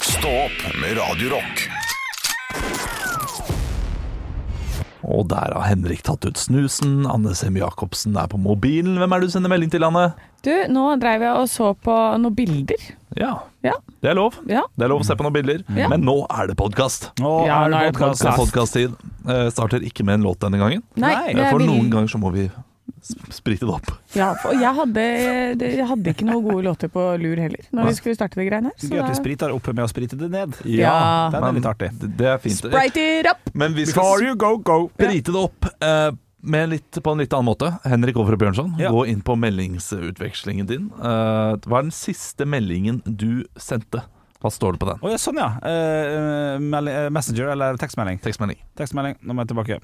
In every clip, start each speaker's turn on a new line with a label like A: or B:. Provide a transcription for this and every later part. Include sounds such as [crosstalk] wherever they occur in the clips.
A: Stå opp med Radio Rock.
B: Og der har Henrik tatt ut snusen. Anne Sem Jacobsen er på mobilen. Hvem er det du sender melding til, Anne?
C: Du, nå dreiv jeg og så på noen bilder.
B: Ja,
C: Ja.
B: det er lov.
C: ja.
B: Det er lov å se på noen bilder,
C: Ja.
B: men nå er det podkast.
D: Nå
C: Ja,
D: er
C: nå
D: det
C: er det
D: podcast.
B: Så Podkasttid eh, starter ikke med en låt denne gangen.
D: Nei,
B: Eh,
C: jeg
B: For
C: vil-
B: noen ganger så må vi sp- sprite det opp.
C: Ja, for jeg hadde, det- jeg hadde ikke noen gode låter på lur heller, når vi skulle starte de greiene her. så
D: Gøy at
C: da-
D: vi spriter opp med å sprite det ned.
C: Ja.
D: Den er
B: men
D: litt artig.
B: det- Det er fint.
C: Sprite it up!
B: Men vi
D: Before
B: skal
D: you go, go.
B: sprite det opp eh, med litt, på en litt annen måte. Henrik Over Bjørnson,
D: Ja.
B: gå inn på meldingsutvekslingen din. Eh, hva er den siste meldingen du sendte? Hva står det på den?
D: Å ja, sånn ja. Eh, mel- eh, messenger eller tekstmelding?
B: Tekstmelding.
D: Tekstmelding, nå må jeg tilbake.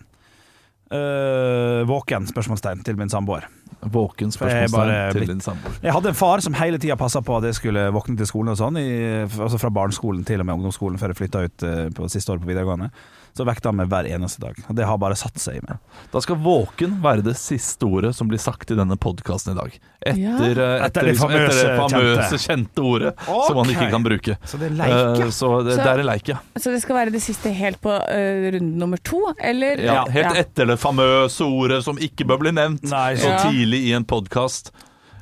D: Eh, våken? spørsmålstegn til min samboer.
B: Våken
D: For jeg er bare
B: spørsmålstegn til
D: blitt-
B: din samboer.
D: Jeg hadde en far som hele tida passa på at jeg skulle våkne til skolen og sånn, i, altså fra barneskolen til og med ungdomsskolen før jeg flytta ut eh, på siste året på videregående. Så vekta han meg hver eneste dag. Og det har bare satt seg i meg.
B: Da skal våken være det siste ordet som blir sagt i denne podkasten i dag. Etter,
C: Ja.
B: eh, etter,
D: Etter det
B: liksom- etter det
D: famøse
B: famøse,
D: kjente.
B: kjente ordet som man ikke
D: Ok.
B: kan bruke.
D: Så det er
B: Eh, så det,
C: Så-
B: det er en leik, ja.
C: Så det skal være det siste helt på eh, runde nummer to, eller?
B: ja. Helt etter det famøse ordet som ikke bør bli nevnt
D: Nei,
B: så
C: Ja.
B: tidlig i en podkast.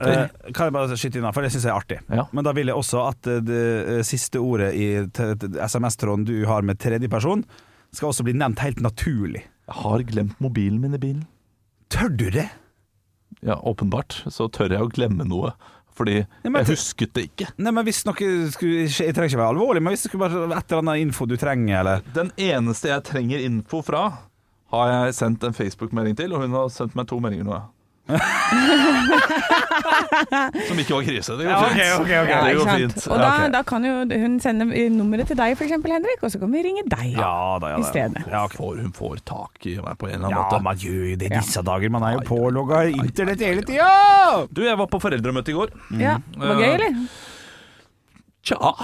D: Eh, kan jeg bare skyte inn, da, for det syns jeg er artig.
B: Ja.
D: Men da vil jeg også at eh, det eh, siste ordet i te- te- SMS-tråden du har med tredjeperson, skal også bli nevnt helt naturlig.
B: Jeg har glemt mobilen min i bilen.
D: Tør du det?
B: Ja, åpenbart så tør jeg å glemme noe. Fordi
D: Ja, men
B: jeg
D: det-
B: husket det ikke.
D: Nei, men hvis noe skulle skje- Jeg trenger ikke være alvorlig, men hvis det skulle være et eller annet info du trenger, eller
B: Den eneste jeg trenger info fra, har jeg sendt en Facebook-melding til, og hun har sendt meg to meldinger nå. ja. Som ikke var krise. Det går fint.
C: Ja,
B: Det
C: ikke
B: går
C: sant?
B: fint.
C: Og da,
B: Ja, ok.
C: da kan jo hun sende nummeret til deg, f.eks., Henrik, og så kan vi ringe deg
D: Ja da, ja da.
C: i stedet.
D: Ja, ok.
B: får, hun får tak i meg på en eller annen
D: ja
B: måte.
D: man gjør jo det i
C: Ja.
D: disse dager. Man er jo
B: Ai,
D: pålogga i internett hele tida!
B: Du, jeg var på foreldremøte i går.
C: Ja, Var det gøy, eller?
B: Tja.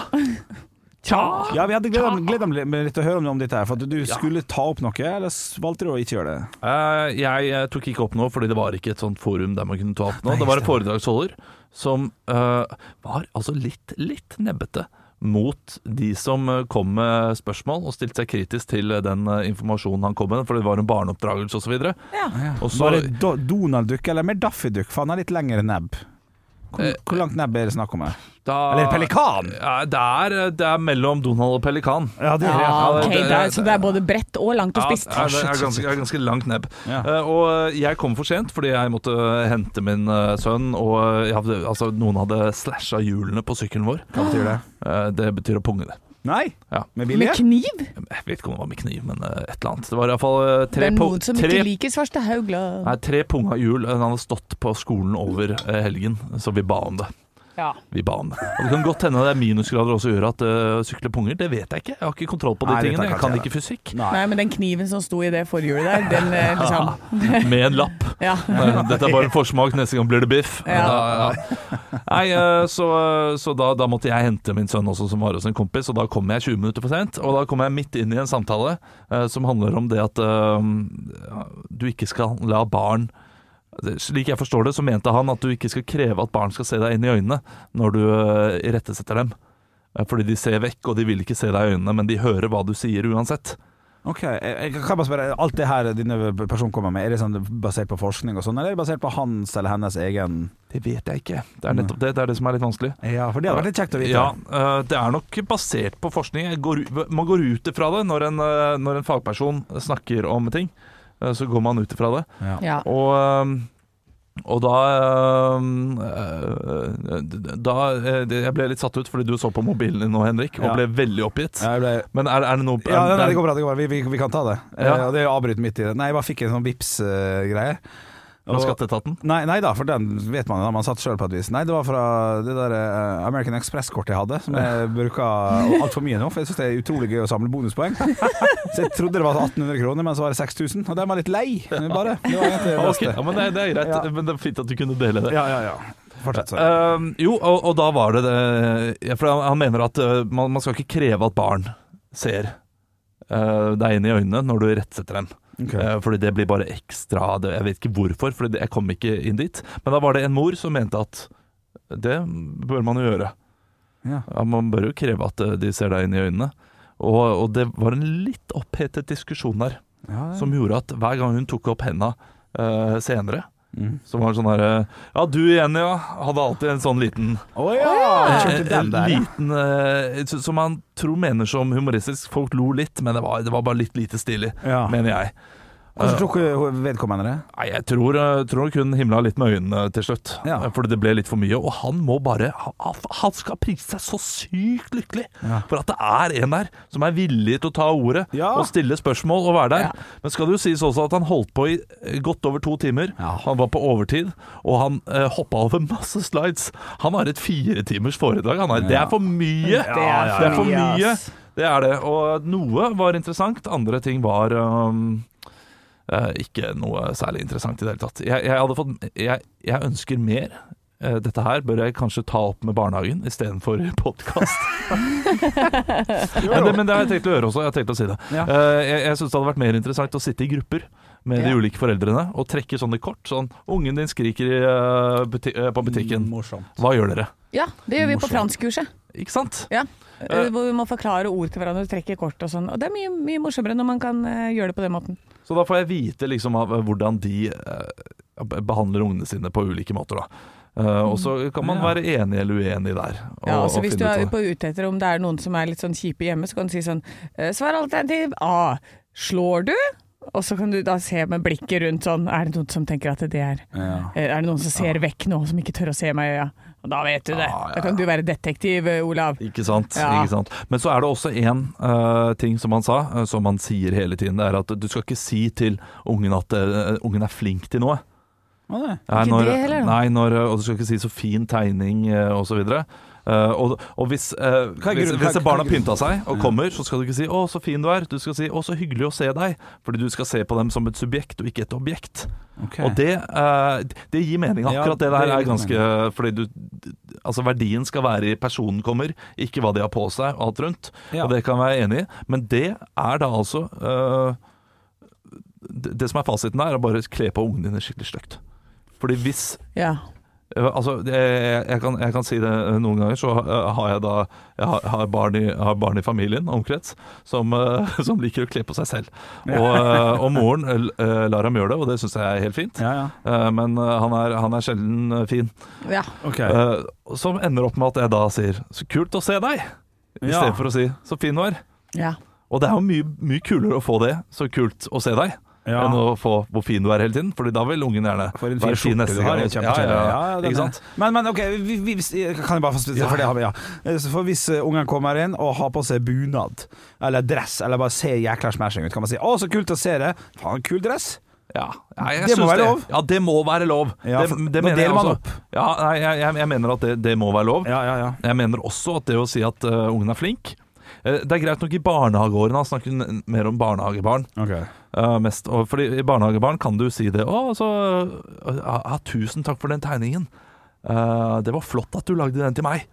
B: Tja.
D: Ja, vi hadde gleda meg litt til å høre om, om dette her, for at du skulle ta opp noe, eller valgte du å ikke gjøre det?
B: Eh, jeg eh, tok ikke opp nå, fordi det var ikke et sånt forum der man kunne ta opp nå.
D: Nei,
B: Det var en
D: stemmer.
B: foredragsholder som eh, var altså litt, litt nebbete mot de som eh, kom med spørsmål og stilte seg kritisk til eh, den eh, informasjonen han kom med, for det var en barneoppdragelse osv.
C: Ja.
D: Var det Do Donald-dukk eller mer Daffy-dukk? For han har litt lengre nebb. Hvor,
B: Eh,
D: hvor langt nebb er det snakk om her? Eller
B: Eller
D: pelikan?
B: det, er, det er mellom Donald og Pelikan.
D: Ja, det er det.
C: Ah, ok,
B: det- det-
C: det er, så det er både bredt og langt og spist.
B: Ja, det er ganske, er ganske langt nebb.
D: Ja.
B: Eh, og jeg kom for sent fordi jeg måtte hente min eh, sønn, og jeg hadde, altså, noen hadde slasha hjulene på sykkelen vår.
D: Hva betyr det?
B: Eh, det betyr å punge det.
D: Nei?
B: Ja.
D: Med
C: Med
D: vilje?
C: kniv?
B: Jeg vet ikke om det var med kniv, men eh, et eller annet. Det var iallfall
C: Det
B: eh, tre,
C: er
B: pu
C: noen som
B: tre,
C: ikke liker svarte haugler.
B: nei, tre punga hjul. Den hadde stått på skolen over eh, helgen, så vi ba om det.
C: Ja.
B: Vi ba om det. Og det kan godt hende det er minusgrader også gjør at uh, sykle punger. Det vet jeg ikke. Jeg har ikke kontroll på de
D: Nei, det
B: tingene.
D: tar
B: Jeg kan
D: kanskje
B: ikke fysikk.
C: Nei, men den kniven som sto i det forhjulet der, den
B: [laughs]
C: eh, liksom
B: Med en lapp.
C: Ja.
B: Eh, Dette er bare en forsmak. Neste gang blir det biff.
C: Ja.
B: Ja, ja. Nei, eh, så, så da, da måtte jeg hente min sønn også, som var hos en kompis, og da kom jeg 20 minutter for sent. Og da kom jeg midt inn i en samtale eh, som handler om det at eh, du ikke skal la barn slik jeg forstår det, så mente han at du ikke skal kreve at barn skal se deg inn i øynene når du eh, irettesetter dem. Eh, Fordi de ser vekk, og de vil ikke se deg i øynene, men de hører hva du sier uansett.
D: Ok, jeg, jeg kan bare spørre Alt det her denne personen kommer med, er det sånn basert på forskning og sånn, eller er det basert på hans eller hennes egen
B: Det vet jeg ikke. Det er nettopp det. Det er det som er litt vanskelig.
D: Ja, for det hadde vært litt kjekt å vite.
B: Ja, eh, det er nok basert på forskning. Jeg Går, u- man går ut ifra det når en, eh, når en fagperson snakker om ting. eh, Så går man ut ifra det.
D: Ja.
C: ja.
B: Og, eh, og da eh, eh, Da eh, det- Jeg ble litt satt ut fordi du så på mobilen din nå, Henrik, og
D: Ja.
B: ble veldig oppgitt.
D: Jeg ble
B: Men er, er det noe
D: Ja, nei, nei, det
B: er-
D: går bra. det går bra Vi, vi, vi kan ta det.
B: Ja.
D: Eh, og det avbryter midt i det. Nei, jeg bare fikk en sånn Vipps-greie.
B: fra Skatteetaten?
D: Nei, nei da, for den vet man jo, da. man satt sjøl på et vis. Nei, det var fra det der eh, American Express-kortet jeg hadde, som jeg bruker altfor mye nå. For jeg syns det er utrolig gøy å samle
B: [laughs]
D: bonuspoeng. Så jeg trodde det var 1800 kroner, men så var det 6000. Og den var litt lei, bare. Det var egentlig det
B: Ah, ok.
D: beste.
B: Ja, men det, det er greit.
D: Ja.
B: Men det er fint at du kunne dele det.
D: Ja, ja, ja. Fortsett, sorry.
B: Ehm, jo, og, og da var det det ja, For han, han mener at eh, man, man skal ikke kreve at barn ser eh, deg inn i øynene når du rettsetter dem.
D: Ok.
B: Eh, fordi det blir bare ekstra det, Jeg vet ikke hvorfor, for jeg kom ikke inn dit. Men da var det en mor som mente at det bør man jo gjøre.
D: Ja.
B: Ja, man bør jo kreve at eh, de ser deg inn i øynene. Og, og det var en litt opphetet diskusjon der,
D: Ja, ja.
B: som gjorde at hver gang hun tok opp henda eh, senere,
D: Mm.
B: så var det sånn herre Ja, du igjen, ja. Hadde alltid en sånn liten
D: Å ja! Kjørte
B: Eh, en
D: den der, ja.
B: liten eh, s- Som man tror mener som humoristisk. Folk lo litt, men det var, det var bare litt lite stilig,
D: ja.
B: mener jeg. eh,
D: Hvordan tok hun vedkommende det?
B: Nei, jeg tror, eh, tror nok hun himla litt med øynene til slutt,
D: Ja.
B: Eh, fordi det ble litt for mye. Og han må bare ha- ha- Han skal prise seg så sykt lykkelig
D: Ja.
B: for at det er en der som er villig til å ta ordet
D: Ja.
B: og stille spørsmål og være der. Men skal det jo sies også at han holdt på i eh, godt over to timer.
D: Ja.
B: Han var på overtid, og han eh, hoppa over masse slides. Han har et fire timers foredrag. Han har, Det er for mye!
E: Det er
B: Det er for mye.
E: ass.
B: Det er det. Og noe var interessant, andre ting var um, eh, ikke noe særlig interessant i det hele tatt. Jeg, jeg, hadde fått, jeg, jeg ønsker mer. Eh, Dette her bør jeg kanskje ta opp med barnehagen [laughs] istedenfor
E: [laughs]
B: podkast. men, det- men det har jeg tenkt å gjøre også. Jeg har tenkt å si det.
D: Ja.
B: Eh, Jeg, jeg syns det hadde vært mer interessant å sitte i grupper med de
E: Ja.
B: ulike foreldrene og trekke sånne kort. Sånn 'Ungen din skriker i, eh, buti eh, på butikken.
D: Morsomt.
B: Hva gjør dere?'
E: Ja, det gjør vi på
D: Morsomt.
E: franskkurset.
B: Ikke sant?
E: Ja.
B: Eh.
E: Hvor vi må forklare ord til hverandre, trekke kort og sånn. Og det er mye, mye morsommere når man kan eh, gjøre det på den måten.
B: Så da får jeg vite liksom av eh, hvordan de eh, behandler ungene sine på ulike måter, da. Eh, og så kan man
D: Ja.
B: være enig eller uenig der. Og,
E: Mm. Ja, altså
B: og
E: Hvis
B: finne
E: du
B: ut
E: er
B: av det.
E: på ute etter om det er noen som er litt sånn kjipe hjemme, så kan du si sånn eh, Svar alternativ A. Slår du? Og så kan du da se med blikket rundt sånn Er det noen som tenker at det er
D: Ja.
E: eh, Er det noen som ser vekk nå, som ikke tør å se meg i øya? Og da vet du det.
B: Ah. Ja, ja,
E: Da kan du være detektiv, eh, Olav.
B: Ikke sant,
E: Ja.
B: ikke sant. Men så er det også én ting som han sa, eh, som han sier hele tiden. Det er at du skal ikke si til ungen at eh, ungen er flink til noe.
D: Å, det.
B: Nei,
E: Ikke
B: når,
E: det heller, da.
B: Nei, når, og du skal ikke si så fin tegning eh, og så videre. Eh, og, og hvis, eh,
D: Hva er
B: hvis,
D: grunnen-
B: hvis
D: hva er-
B: barna
D: hva er grunnen?
B: pynta seg og kommer, så skal du ikke si 'å, så fin du er'. Du skal si 'å, så hyggelig å se deg'. Fordi du skal se på dem som et subjekt og ikke et objekt.
D: Ok.
B: Og det, eh, det gir mening.
D: Ja,
B: Akkurat det
D: det
B: der
D: gir
B: er ganske Fordi du Altså, verdien skal være i personen kommer, ikke hva de har på seg og alt rundt.
D: Ja.
B: Og det kan jeg være enig i, men det er da altså øh, det, det som er fasiten her, er bare å kle på ungene dine skikkelig stygt. Fordi hvis
E: Ja.
B: øh, Altså, det- jeg, jeg, kan, jeg kan si det øh, noen ganger, så øh, har jeg da Jeg har, har, barn, i, har barn i familien, omkrets, som, øh, [laughs] som liker å kle på seg selv. Og, øh,
D: [laughs]
B: og moren øh, lar ham gjøre det, og det syns jeg er helt fint.
D: Ja, ja.
B: Eh, Men øh, han er, han er sjelden øh, fin.
E: ja.
D: Ok.
B: Eh, Som ender opp med at jeg da sier 'så kult å se deg', i
D: Ja.
B: stedet for å si 'så fin du er'.
E: ja.
B: Og det er jo mye, mye kulere å få det, så kult å se deg,
D: Ja.
B: enn å få hvor fin du er hele tiden. Fordi da vil ungen gjerne
D: For en fin
B: være fin
D: skjorte
B: neste
D: du har.
B: gang.
D: det er kjempekjedelig.
B: Ja, ja, ja.
D: Ja, ja, den
B: Ikke
D: er-
B: sant?
D: Men, men ok, vi, vi, hvis- kan jeg bare få spesielt, for det har vi, ja. Så For hvis eh, ungen kommer inn og har på seg bunad, eller dress, eller bare ser jækla smashing ut, kan man si 'Å, så kult å se det'. Faen, kul dress.
B: Ja. Ja, jeg
D: Det må
B: syns
D: være lov.
B: Ja, det må være lov.
D: Ja, for
B: det,
D: nå deler man
B: også.
D: opp.
B: Ja, nei, jeg, jeg, jeg mener at det, det må være lov.
D: Ja, ja, ja.
B: Jeg mener også at det å si at eh, ungen er flink eh, Det er greit nok i barnehageårene, han snakker n- mer om barnehagebarn.
D: Ok.
B: eh, mest, og fordi I barnehagebarn kan du si det. 'Å, så eh, ja, Tusen takk for den tegningen. Eh, det var flott at du lagde den til meg.'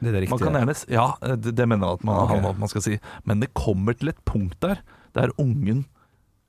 D: Det er det
B: Man kan
D: riktige.
B: gjerne, s- ja, eh, det, det mener jeg at man,
D: Ah, Ok.
B: han- at man skal si. Men det kommer til et punkt der der ungen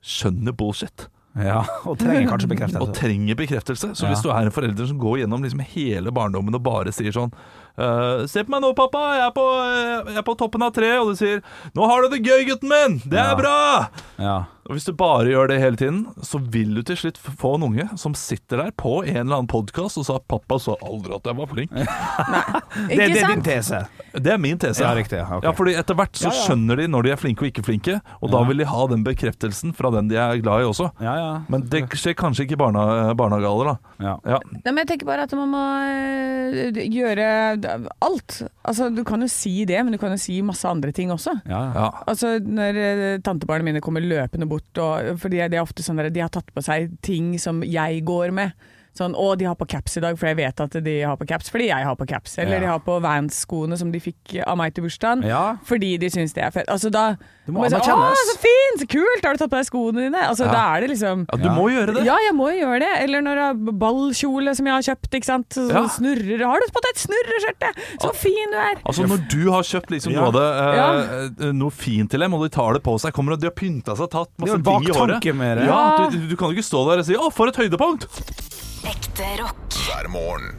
B: skjønner bullshit
D: Ja, og trenger kanskje
B: og
D: bekreftelse.
B: trenger bekreftelse. Så
D: Ja.
B: hvis du er en forelder som går gjennom liksom hele barndommen og bare sier sånn «Eh, Se på meg nå, pappa, jeg er, på, eh, jeg er på toppen av treet, og du sier Nå har du det gøy, gutten min! Det er
D: Ja.
B: bra!
D: Ja.
B: Og Hvis du bare gjør det hele tiden, så vil du til slutt f- få en unge som sitter der på en eller annen podkast og sa 'Pappa sa aldri at jeg var flink'.
D: Det, det
E: Ikke
D: er din
E: sant?
D: tese.
B: Det er min tese.
D: Ja, riktig, ja, ok.
B: ja, fordi etter hvert så
D: Ja, ja.
B: skjønner de når de er flinke og ikke flinke, og da
D: Ja.
B: vil de ha den bekreftelsen fra den de er glad i også.
D: Ja, ja.
B: Men det skjer kanskje ikke i barna, eh, barnehagealder, da.
D: ja.
B: Ja.
E: Nei, men jeg tenker bare at man må eh, gjøre alt. Altså, du kan jo si det, men du kan jo si masse andre ting også.
D: ja. ja.
B: Ja.
E: Altså Når eh, tantebarna mine kommer løpende bort og, Fordi det er ofte sånn der, De har tatt på seg ting som jeg går med Sånn, å de har på caps i dag For jeg vet at de har på caps Fordi jeg har på caps Eller
D: Ja.
E: de har på Vans-skoene som de fikk av meg til bursdagen
D: Ja.
E: Fordi de synes det er fett Altså da
D: Det må
E: man sier,
D: anerkjennes.
E: Å, så fint, så kult, har du tatt på deg skoene dine Altså
B: Ja.
E: da er det liksom
B: ja, du
D: Ja.
B: må gjøre det.
E: ja, jeg må jo gjøre det. Eller når jeg har ballkjole som jeg har kjøpt, ikke sant. Så
B: Ja.
E: snurrer Har du på deg et snurreskjørte? Så fin du er!
B: Altså Når du har kjøpt liksom
D: Ja.
B: noe, av det, eh, noe fint til dem, og de tar det på seg Kommer og De har pynta seg, tatt
D: Det
B: masse
D: er jo
B: ting i håret.
D: baktanke med det.
B: Ja, du, du kan jo ikke stå der og si 'Å, for et høydepunkt'!
A: Ekte rock.
F: hver morgen.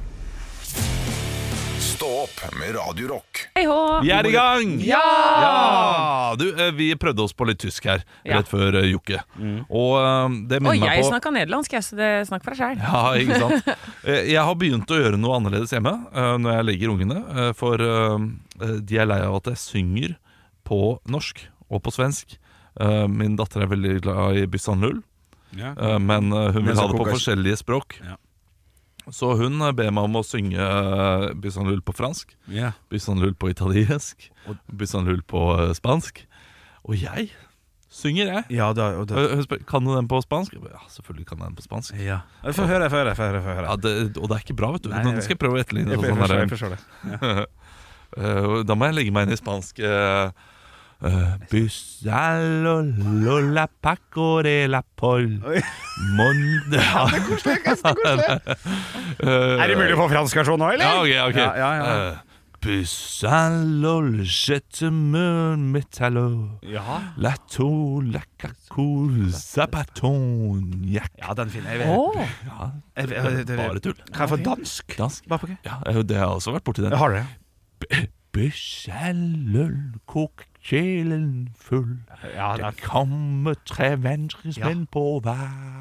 A: Stå opp med Radio Rock.
E: Hei hå!
B: Vi er i gang!
E: Ja!
B: Ja! Du, eh, vi prøvde oss på litt tysk her
E: Ja.
B: rett før eh, Jokke. Og eh, det
E: Og
B: minner meg
E: jeg
B: på
E: snakka nederlandsk, jeg, så det snakk for deg sjæl.
B: ja, ikke sant? Eh, Jeg har begynt å gjøre noe annerledes hjemme eh, når jeg legger ungene. eh, For eh, de er lei av at jeg synger på norsk og på svensk. Eh, Min datter er veldig glad i Byssan Lull,
D: Ja.
B: eh, men eh, hun
D: Men
B: vil
D: så
B: ha det på
D: koker-
B: forskjellige språk.
D: Ja.
B: Så hun eh, ber meg om å synge eh, Byssan Lull på fransk.
D: Ja.
B: Byssan Lull på italiensk,
D: Og-
B: Byssan Lull på eh, spansk. Og jeg synger, jeg.
D: Ja, da, og da.
B: Eh, Hun spør kan du den på spansk. Jeg bare, Ja, selvfølgelig kan jeg den på spansk.
D: Ja. Få høre, få høre, få høre. Få høre.
B: Ja, det, og det er ikke bra, vet du.
D: Nei,
B: Nå
D: jeg
B: skal jeg prøve å etterligne.
D: Jeg
B: og
D: forstår, jeg
B: Sånn
D: forstår det.
B: der, Eh, da må jeg legge meg inn i spansk. eh, eh, Busalo lo la paco de la pol
D: Oi.
B: mon...
D: [laughs]
B: Ja, det er [laughs] koselig.
D: Er det mulig å få fransk versjon nå, eller?
B: Ja, ok, ok.
D: Ja, ja, ja.
B: Eh, Busalo le jette mun metallo
D: Ja,
B: La to la caco zapaton ja.
D: ja den finner jeg.
E: Oh,
B: ja,
D: Jeg- jeg- jeg- jeg-
B: Bare tull.
D: Kan jeg få dansk?
B: Dansk.
D: Bare på-
B: Ja, eh, det har jeg også vært borti den.
D: Jeg har det.
B: Byssaløl, kok kjelen full.
D: Ja,
B: Det kommer tre venstresmenn på veien.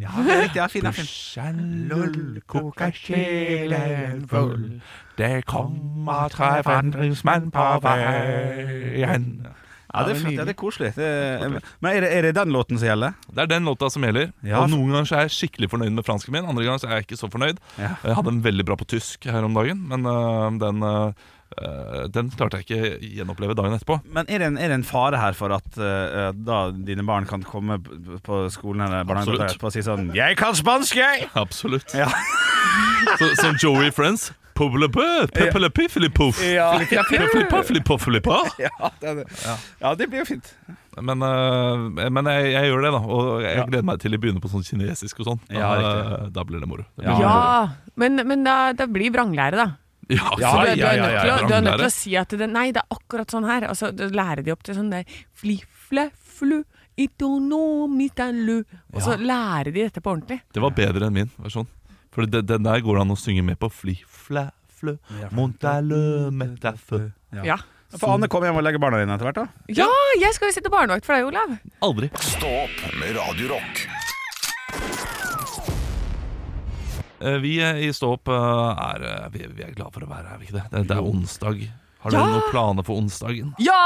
D: Ja, det er riktig, ja, fin, ja, fin.
B: Byssaløl, kok kjelen full. Det kommer tre venstresmenn på veien.
D: Ja, det er flott, ja, det er koselig. Det er, men er det, er det den låten som gjelder?
B: Det er den låta som gjelder.
D: Ja.
B: Og Noen ganger så er jeg skikkelig fornøyd med fransken min, andre ganger så er jeg ikke så fornøyd.
D: Ja.
B: Jeg hadde en veldig bra på tysk her om dagen, men øh, den, øh, øh, den klarte jeg ikke gjenoppleve dagen etterpå.
D: Men er det en, er det en fare her for at eh, da dine barn kan komme p- på skolen eller barnehagen
B: Absolutt.
D: etterpå og si sånn 'Jeg kan spansk, jeg!'
B: Absolutt.
D: Ja.
B: [laughs] så, som Joey Friends. Pobbelebø, peppelepiffelipoff.
D: [laughs] Ja.
B: Peppelipoffelipoffelipa.
D: [laughs] Ja, det, ja. det blir jo fint.
B: Men, øh, men jeg, jeg gjør det, da. Og jeg gleder meg til de begynner på sånn kinesisk og sånn. Da,
D: Ja, riktig.
B: øh, da blir det moro. Det
D: Ja.
B: blir
E: ja,
B: moro.
E: men, men da, da blir vranglære, da.
B: ja,
D: Ja,
E: Du
B: så-
E: er, du er
D: ja,
E: nødt
D: ja,
B: ja.
E: til å, du er nødt til
B: Vranglære.
E: å si at det, Nei, det er akkurat sånn her. Altså, du lærer de opp til sånn der fli, fle, flu, itono, mitalu. Og så lærer de dette på ordentlig.
B: eh. Det var bedre enn min versjon. For det, den der går det an å synge med på. Fli, flæ, flø, montalø, metafø.
E: Ja.
D: For Anne kom hjem og legge barna dine etter hvert, da.
E: ja, jeg skal jo sitte barnevakt for deg, Olav.
B: Aldri.
A: Stå opp med Radio Rock.
B: Eh, Vi eh, i Stå opp eh, er, eh, vi, vi er glad for å være her, er vi ikke det? Det, det er onsdag. Har dere
E: Ja!
B: noen planer for onsdagen?
E: Ja!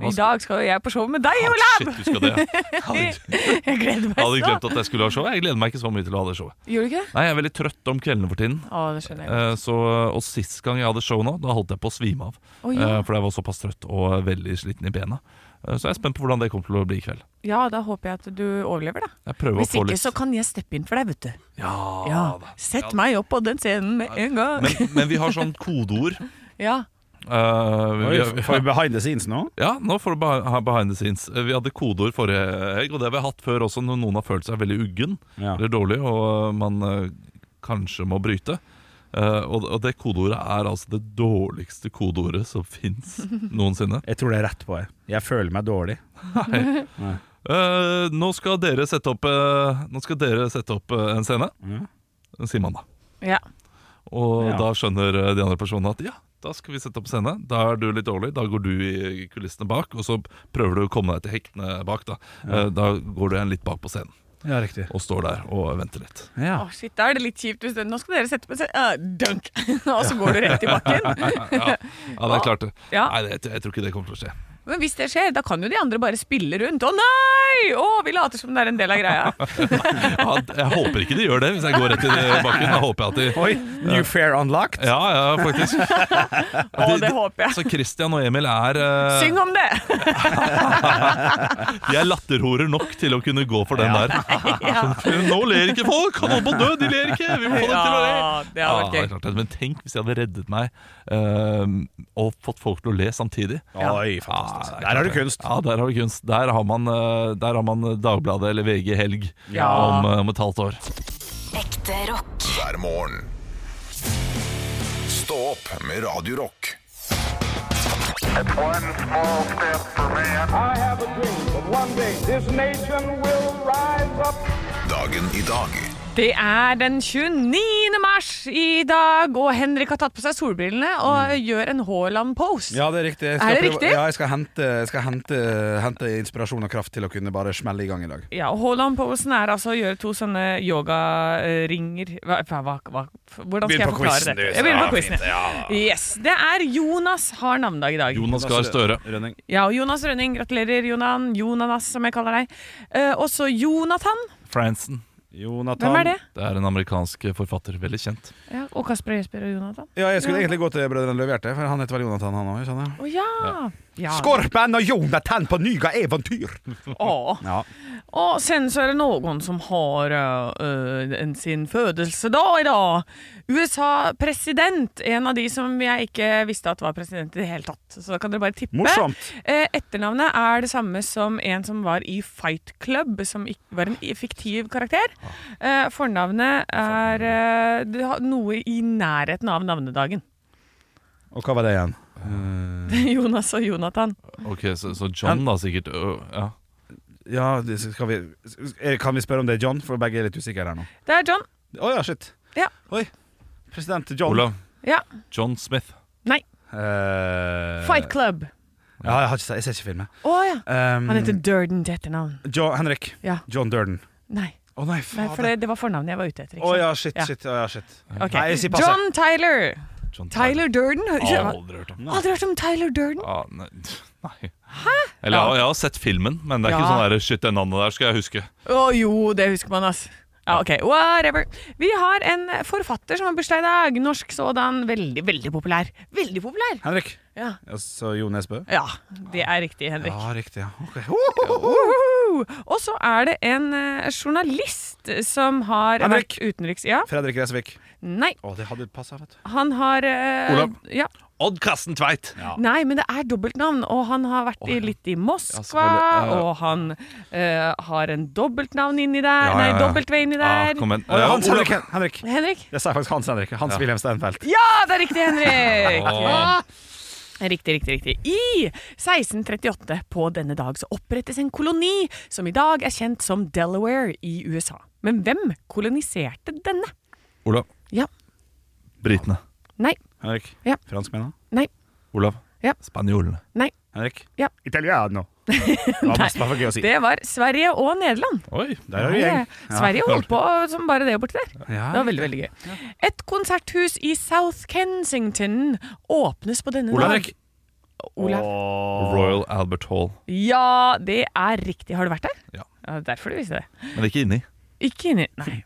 B: Hva
E: I
B: skal-
E: dag skal jo jeg på show med deg,
B: Ah,
E: Olav!
B: Shit, du skal
E: [laughs]
B: det. Jeg hadde,
E: Jeg gleder
B: jeg hadde
E: meg
B: glemt
E: sånn.
B: at jeg skulle ha show. Jeg gleder meg ikke så mye til å ha det showet.
E: Gjorde du ikke det?
B: Nei, Jeg er veldig trøtt om kveldene for tiden.
E: Å, det skjønner jeg.
B: Eh, Så, og sist gang jeg hadde show nå, da holdt jeg på å svime av.
E: Å, ja.
B: Eh, For jeg var såpass trøtt og veldig sliten i bena. Eh, Så jeg er spent på hvordan det kommer til å bli i kveld.
E: ja, da håper jeg at du overlever, da.
B: Jeg prøver å
E: Hvis
B: få
E: ikke
B: litt
E: så kan jeg steppe inn for deg, vet du.
B: ja,
E: Ja,
B: da.
E: Sett meg opp på den scenen med en gang.
B: Men, men vi har sånn kodeord.
E: Ja,
B: Eh, vi- vi-
D: Får vi behind the scenes nå?
B: Ja, nå får du behi- ha behind the scenes. Eh, Vi hadde kodeord forrige helg, og det har vi hatt før også når noen har følt seg veldig uggen
D: Ja.
B: eller dårlig, og eh, man eh, kanskje må bryte. Eh, og, og det kodeordet er altså det dårligste kodeordet som fins noensinne.
D: Jeg tror det er rett på. Jeg, jeg føler meg dårlig.
B: Eh, nå skal dere sette opp, eh, nå skal dere sette opp eh, en scene,
D: Ja.
B: sier man da.
E: ja.
B: Og
D: Ja.
B: da skjønner eh, de andre personene at ja, da skal vi sette opp scene. Da er du litt dårlig, da går du i kulissene bak, og så prøver du å komme deg til hektene bak. Da, Eh, da går du igjen litt bak på scenen.
D: Ja, riktig.
B: og står der og venter litt.
E: Å, shit, da er det litt kjipt hvis det, Nå skal dere sette på en scene. Ah, dunk! [laughs] Og så går du rett i bakken.
B: Ja, ja det er klart det.
E: Ja.
B: Nei, det, jeg tror ikke det kommer til å skje.
E: Men hvis det skjer, da kan jo de andre bare spille rundt. Å nei! Å, vi later som det er en del av
B: [laughs]
E: greia.
B: Ja, jeg håper ikke de gjør det hvis jeg går rett i bakken. Da håper jeg at de
D: Oi, New Fair Unlocked.
B: Ja, ja,
E: [laughs]
B: faktisk.
E: Å, det håper jeg.
B: Så Christian og Emil er eh,
E: Syng om det!
B: [laughs] De er latterhorer nok til å kunne gå for den der.
E: [laughs] Ja,
B: Nå ler ikke folk! Han holdt på å dø, de ler ikke! Vi må få dem til å le!
E: ja det
B: Ja, det
E: hadde
B: er
E: vært gøy.
B: klart det. Men tenk hvis jeg hadde reddet meg eh, og fått folk til å le samtidig.
D: Oi,
B: Ja,
D: fantastisk.
B: det er
D: Der har du
B: klart det.
D: kunst.
B: Ja, der har du kunst. Der har man, eh, der har man Dagbladet eller VG Helg
E: Ja.
B: om, eh, om et halvt år.
G: Ekte rock.
A: Hver morgen. Stå opp med Radio Rock.
H: One small step for man.
I: I have a dream that one day this nation will rise up.
A: Dagen i dag
E: Det er den 29. mars i dag, og Henrik har tatt på seg solbrillene og gjør en Haaland-pose.
D: Ja, det er riktig. Jeg
E: Er
D: skal,
E: det riktig?
D: Ja, jeg skal, hente, jeg skal hente, hente inspirasjon og kraft til å kunne bare smelle i gang i dag.
E: Ja, og Haaland-posen er altså å gjøre to sånne yogaringer hva, hva, hva, hva, Hvordan skal jeg forklare det? Jeg begynner på quizen. Ja. Yes. Det er Jonas har navnedag i dag.
B: Jonas Gahr
D: Altså,
B: Støre.
D: Rønning.
E: Ja, og Jonas Rønning. Gratulerer, Jonan. Jonanas, som jeg kaller deg. Eh, og så Jonathan.
B: Franson.
D: Jonathan.
E: Hvem er det?
B: Det er en amerikansk forfatter. Veldig kjent.
E: Ja, og Kasper og Jesper og Jonathan.
D: Ja, jeg skulle egentlig gå til Brødrene Løvhjerte, for han heter vel Jonathan, han òg, skjønner jeg.
E: Å ja! ja.
D: Skorpen og Jonathan på nyga eventyr!
E: Å.
D: Ja.
E: Og sen så er det noen som har øh, en sin fødelsedag i dag. USA-president. En av de som jeg ikke visste at var president i det hele tatt. Så da kan dere bare tippe.
D: Morsomt.
E: Eh, etternavnet er det samme som en som var i Fight Club, som ikk- var en i- fiktiv karakter. Eh, fornavnet er eh, det har noe i nærheten av navnedagen. [laughs]
D: Og hva var det igjen? Eh,
E: Jonas og Jonathan.
B: Ok, Så, så John, da, sikkert. Ø, ja.
D: Ja, det skal vi, er- kan vi spørre om det er John, for begge er litt usikre her nå.
E: Det er John.
D: Å ja, shit.
E: Ja.
D: Oi. President John.
B: Olav.
E: Ja.
B: John Smith.
E: Nei.
D: Eh,
E: Fight Club.
D: Ja, jeg, har ikke, sett- jeg ser ikke filmen.
E: Å ja.
D: Um,
E: Han heter Durden til etternavn.
D: Jo, Henrik.
E: Ja.
D: John Durden.
E: Nei.
D: Å nei,
E: Nei,
D: faen.
E: for det, det var fornavnet jeg var ute etter.
D: Å
E: Ikke sant?
D: ja, shit,
E: Ja.
D: shit. Å, ja, shit.
E: Ok.
D: Nei, jeg sier passe.
E: John Tyler.
B: John Ah,
E: Tyler Durden? [laughs] Ja.
B: Aldri hørt om.
E: Aldri hørt om Tyler Durden?
B: Ja, nei. [laughs] nei. Eller jeg har- jeg har sett filmen, men det er ikke
E: Ja.
B: sånn der, shit, det navnet der skal jeg huske.
E: Å jo, det husker man, ass. Ja, ok, whatever. Vi har en forfatter som har bursdag i dag. Norsk sådan. Veldig, veldig populær. Veldig populær!
D: Henrik.
E: Ja,
D: Altså Jo Nesbø.
E: ja det er riktig, Henrik.
D: Ja, riktig. ja. Ok.
E: Uhuhu! Og så er det en eh, journalist som har
D: Henrik.
E: vært utenriks... Ja?
D: Fredrik Resvik.
E: Nei.
D: Å, det hadde passa, vet du.
E: Han har eh,
B: Olav.
E: Ja.
B: Odd Karsten Tveit.
E: Nei, men det er dobbeltnavn, og han har vært i, litt i Moskva,
B: selvfølgelig, ja, ja.
E: og han eh, har en dobbeltnavn inni der,
B: Ja, ja, ja.
E: nei, dobbeltvei inni
B: Ja,
E: der.
B: Ah, kom igjen.
D: Ja,
B: Ja,
D: Hans
B: Olav.
D: Henrik. Henrik.
E: Henrik?
D: Jeg sa faktisk Hans Henrik. Hans Wilhelm Steinfeld.
E: Ja, det er riktig, Henrik!
B: [laughs] Åh.
E: Riktig, riktig, riktig. I 1638 på denne dag så opprettes en koloni som i dag er kjent som Delaware i USA. Men hvem koloniserte denne?
B: Olav.
E: Ja.
B: Britene.
E: Nei,
D: Henrik.
E: Ja.
D: Franskmennene.
E: nei,
B: Olav.
E: Ja.
B: Spanjolene.
E: nei.
D: Henrik.
E: Ja. [laughs]
D: Italiano. Det var masse- det var gøy å si.
E: Det var Sverige og Nederland.
B: Oi.
D: Der er du gjeng.
E: Sverige holdt på som bare det borti der. Det
D: Ja.
E: var veldig, veldig gøy. Et konserthus i South Kensington åpnes på denne
B: Olav.
E: dag. Olav.
B: Royal Albert Hall.
E: Ja, det er riktig. Har du vært der?
B: Ja.
E: ja derfor du visste det.
B: Men ikke inni.
E: Ikke inni Nei.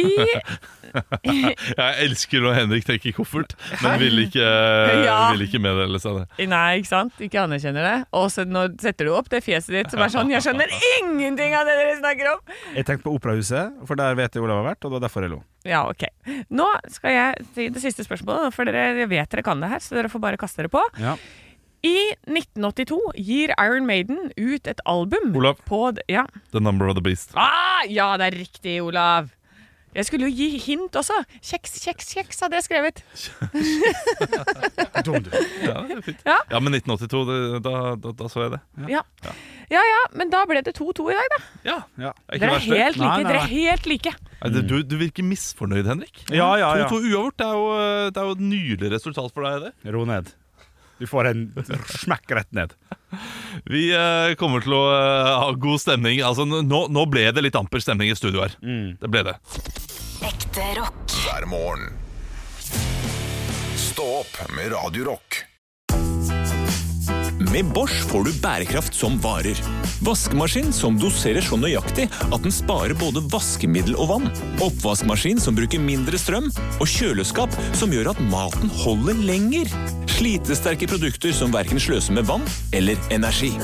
E: I
B: Jeg elsker når Henrik trekker koffert, men vil ikke,
E: [laughs] Ja.
B: vil ikke meddele seg det.
E: Nei, ikke sant? Ikke anerkjenner det. Og så nå setter du opp det fjeset ditt som er sånn Jeg skjønner ingenting av det dere snakker om!
D: Jeg tenkte på Operahuset, for der vet jeg Olav har vært, og det var derfor jeg lo.
E: Ja, ok. Nå skal jeg til det siste spørsmålet, for dere jeg vet dere kan det her, så dere får bare kaste dere på. [laughs]
D: Ja.
E: I 1982 gir Iron Maiden ut et album
B: Olav.
E: på d- Ja.
B: The Number of the Beast.
E: Ah, ja, det er riktig, Olav. Jeg skulle jo gi hint også. Kjeks, kjeks, kjeks hadde jeg skrevet.
D: Dum, du.
B: Ja, det er fint.
E: Ja.
B: ja men 1982, det, da, da, da så jeg det.
E: Ja. ja ja, men da ble det 2-2 i dag, da.
B: Ja,
D: Ja.
B: det er ikke
E: Dere er
B: verst det.
E: helt like.
D: Nei, nei,
E: Dere
D: nei.
E: er helt like.
B: Nei, det- Du, du virker misfornøyd, Henrik.
D: Ja, ja, ja.
B: 2-2 uavgjort, det er jo, det er jo et nydelig resultat for deg, det.
D: Ro ned. Du får en smekk rett ned.
B: Vi eh, kommer til å eh, ha god stemning. Altså, nå, nå ble det litt amper stemning i studio her. Det ble det.
G: Ekte rock.
A: hver morgen. Stå opp med Radio Rock.
I: Med Bosch får du bærekraft som varer. Vaskemaskin som doserer så nøyaktig at den sparer både vaskemiddel og vann. Oppvaskmaskin som bruker mindre strøm. Og kjøleskap som gjør at maten holder lenger. Slitesterke produkter som verken sløser med vann eller energi.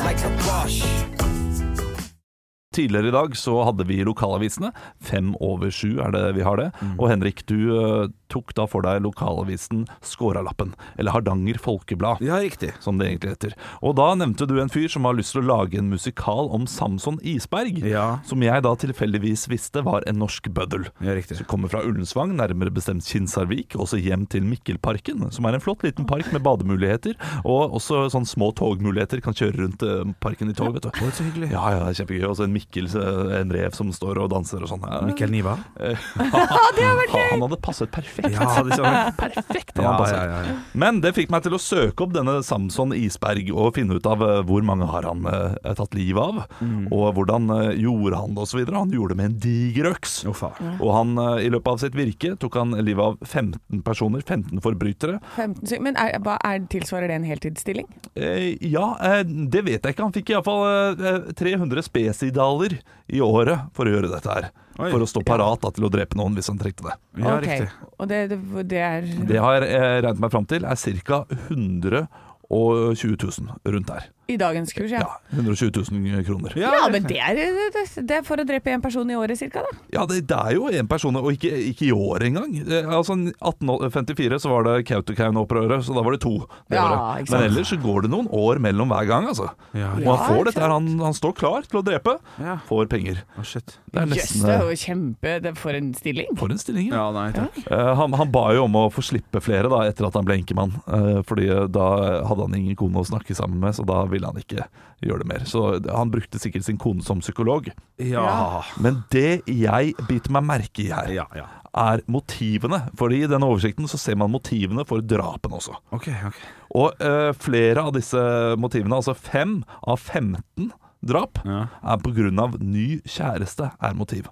B: Tidligere
D: Mm.
B: i dag så hadde vi lokalavisene. Fem over sju er det vi har det. Og Henrik, du eh, tok da for deg lokalavisen Skåralappen, eller Hardanger Folkeblad
D: Ja, riktig.
B: som det egentlig heter. Og da nevnte du en fyr som har lyst til å lage en musikal om Samson Isberg,
D: Ja.
B: som jeg da tilfeldigvis visste var en norsk bøddel.
D: Ja, riktig.
B: Som kommer fra Ullensvang, nærmere bestemt Kinsarvik, og så hjem til Mikkelparken, som er en flott liten park med bademuligheter, og også sånn små togmuligheter, kan kjøre rundt eh, parken i tog, vet du.
D: Å, så hyggelig.
B: Ja, ja, det er kjempegøy. Og så en Mikkel, eh, en rev som står og danser og sånn. Ja.
D: Mikkel Niva. [laughs]
B: Han hadde passet perfekt.
D: Ja, det så-
B: perfekt. Han
D: Ja,
B: hadde passet.
D: ja, ja, ja.
B: Men det fikk meg til å søke opp denne Samson Isberg og finne ut av eh, hvor mange har han eh, tatt livet av,
D: Mm.
B: og hvordan eh, gjorde han det osv. Han gjorde det med en diger øks.
D: Å, faen.
B: Og han, eh, i løpet av sitt virke tok han livet av 15 personer, 15 forbrytere.
C: 15, sek- men er, hva er, tilsvarer det en heltidsstilling?
B: Eh, ja, eh, det vet jeg ikke. Han fikk iallfall eh, 300 spesidaler i året for å gjøre dette her.
D: Oi.
B: For å stå parat da, til å drepe noen hvis han trengte det.
D: Ja,
C: Ok.
D: riktig.
C: Og det, det, det er
E: Mm.
B: Det har jeg eh, regnet meg fram til er ca. 120 000 rundt der.
C: i dagens kurs, ja.
B: Ja, 120 000 kroner.
C: Ja, men det er, det, det er for å drepe én person i året cirka, da.
B: Ja, det, det er jo én person, og ikke, ikke i år engang. Eh, Altså, 1854 så var det Kautokeino-opprøret, så da var det to. Det
C: Ja,
B: året.
C: ikke sant.
B: Men ellers så går det noen år mellom hver gang, altså.
D: Ja,
B: Og han
C: Ja,
B: får
C: ikke
B: dette her, han, han står klar til å drepe,
D: Ja.
B: får penger.
D: Å, shit.
B: Det er
C: Jøss,
B: nesten
C: det er
B: eh,
C: jo kjempe det, For en stilling.
B: for en stilling. Ja.
D: Ja, nei, takk.
B: Eh, Han, han ba jo om å få slippe flere da, etter at han ble enkemann. eh, Fordi eh, da hadde han ingen kone å snakke sammen med, så da ville han ikke gjøre det mer. Så han brukte sikkert sin kone som psykolog.
D: Ja.
B: Men det jeg biter meg merke i her,
D: Ja, ja.
B: er motivene. For i denne oversikten så ser man motivene for drapene også.
D: OK. ok
B: Og eh, flere av disse motivene, altså fem av 15 drap,
D: Ja.
B: er på grunn av ny kjæreste er motiv.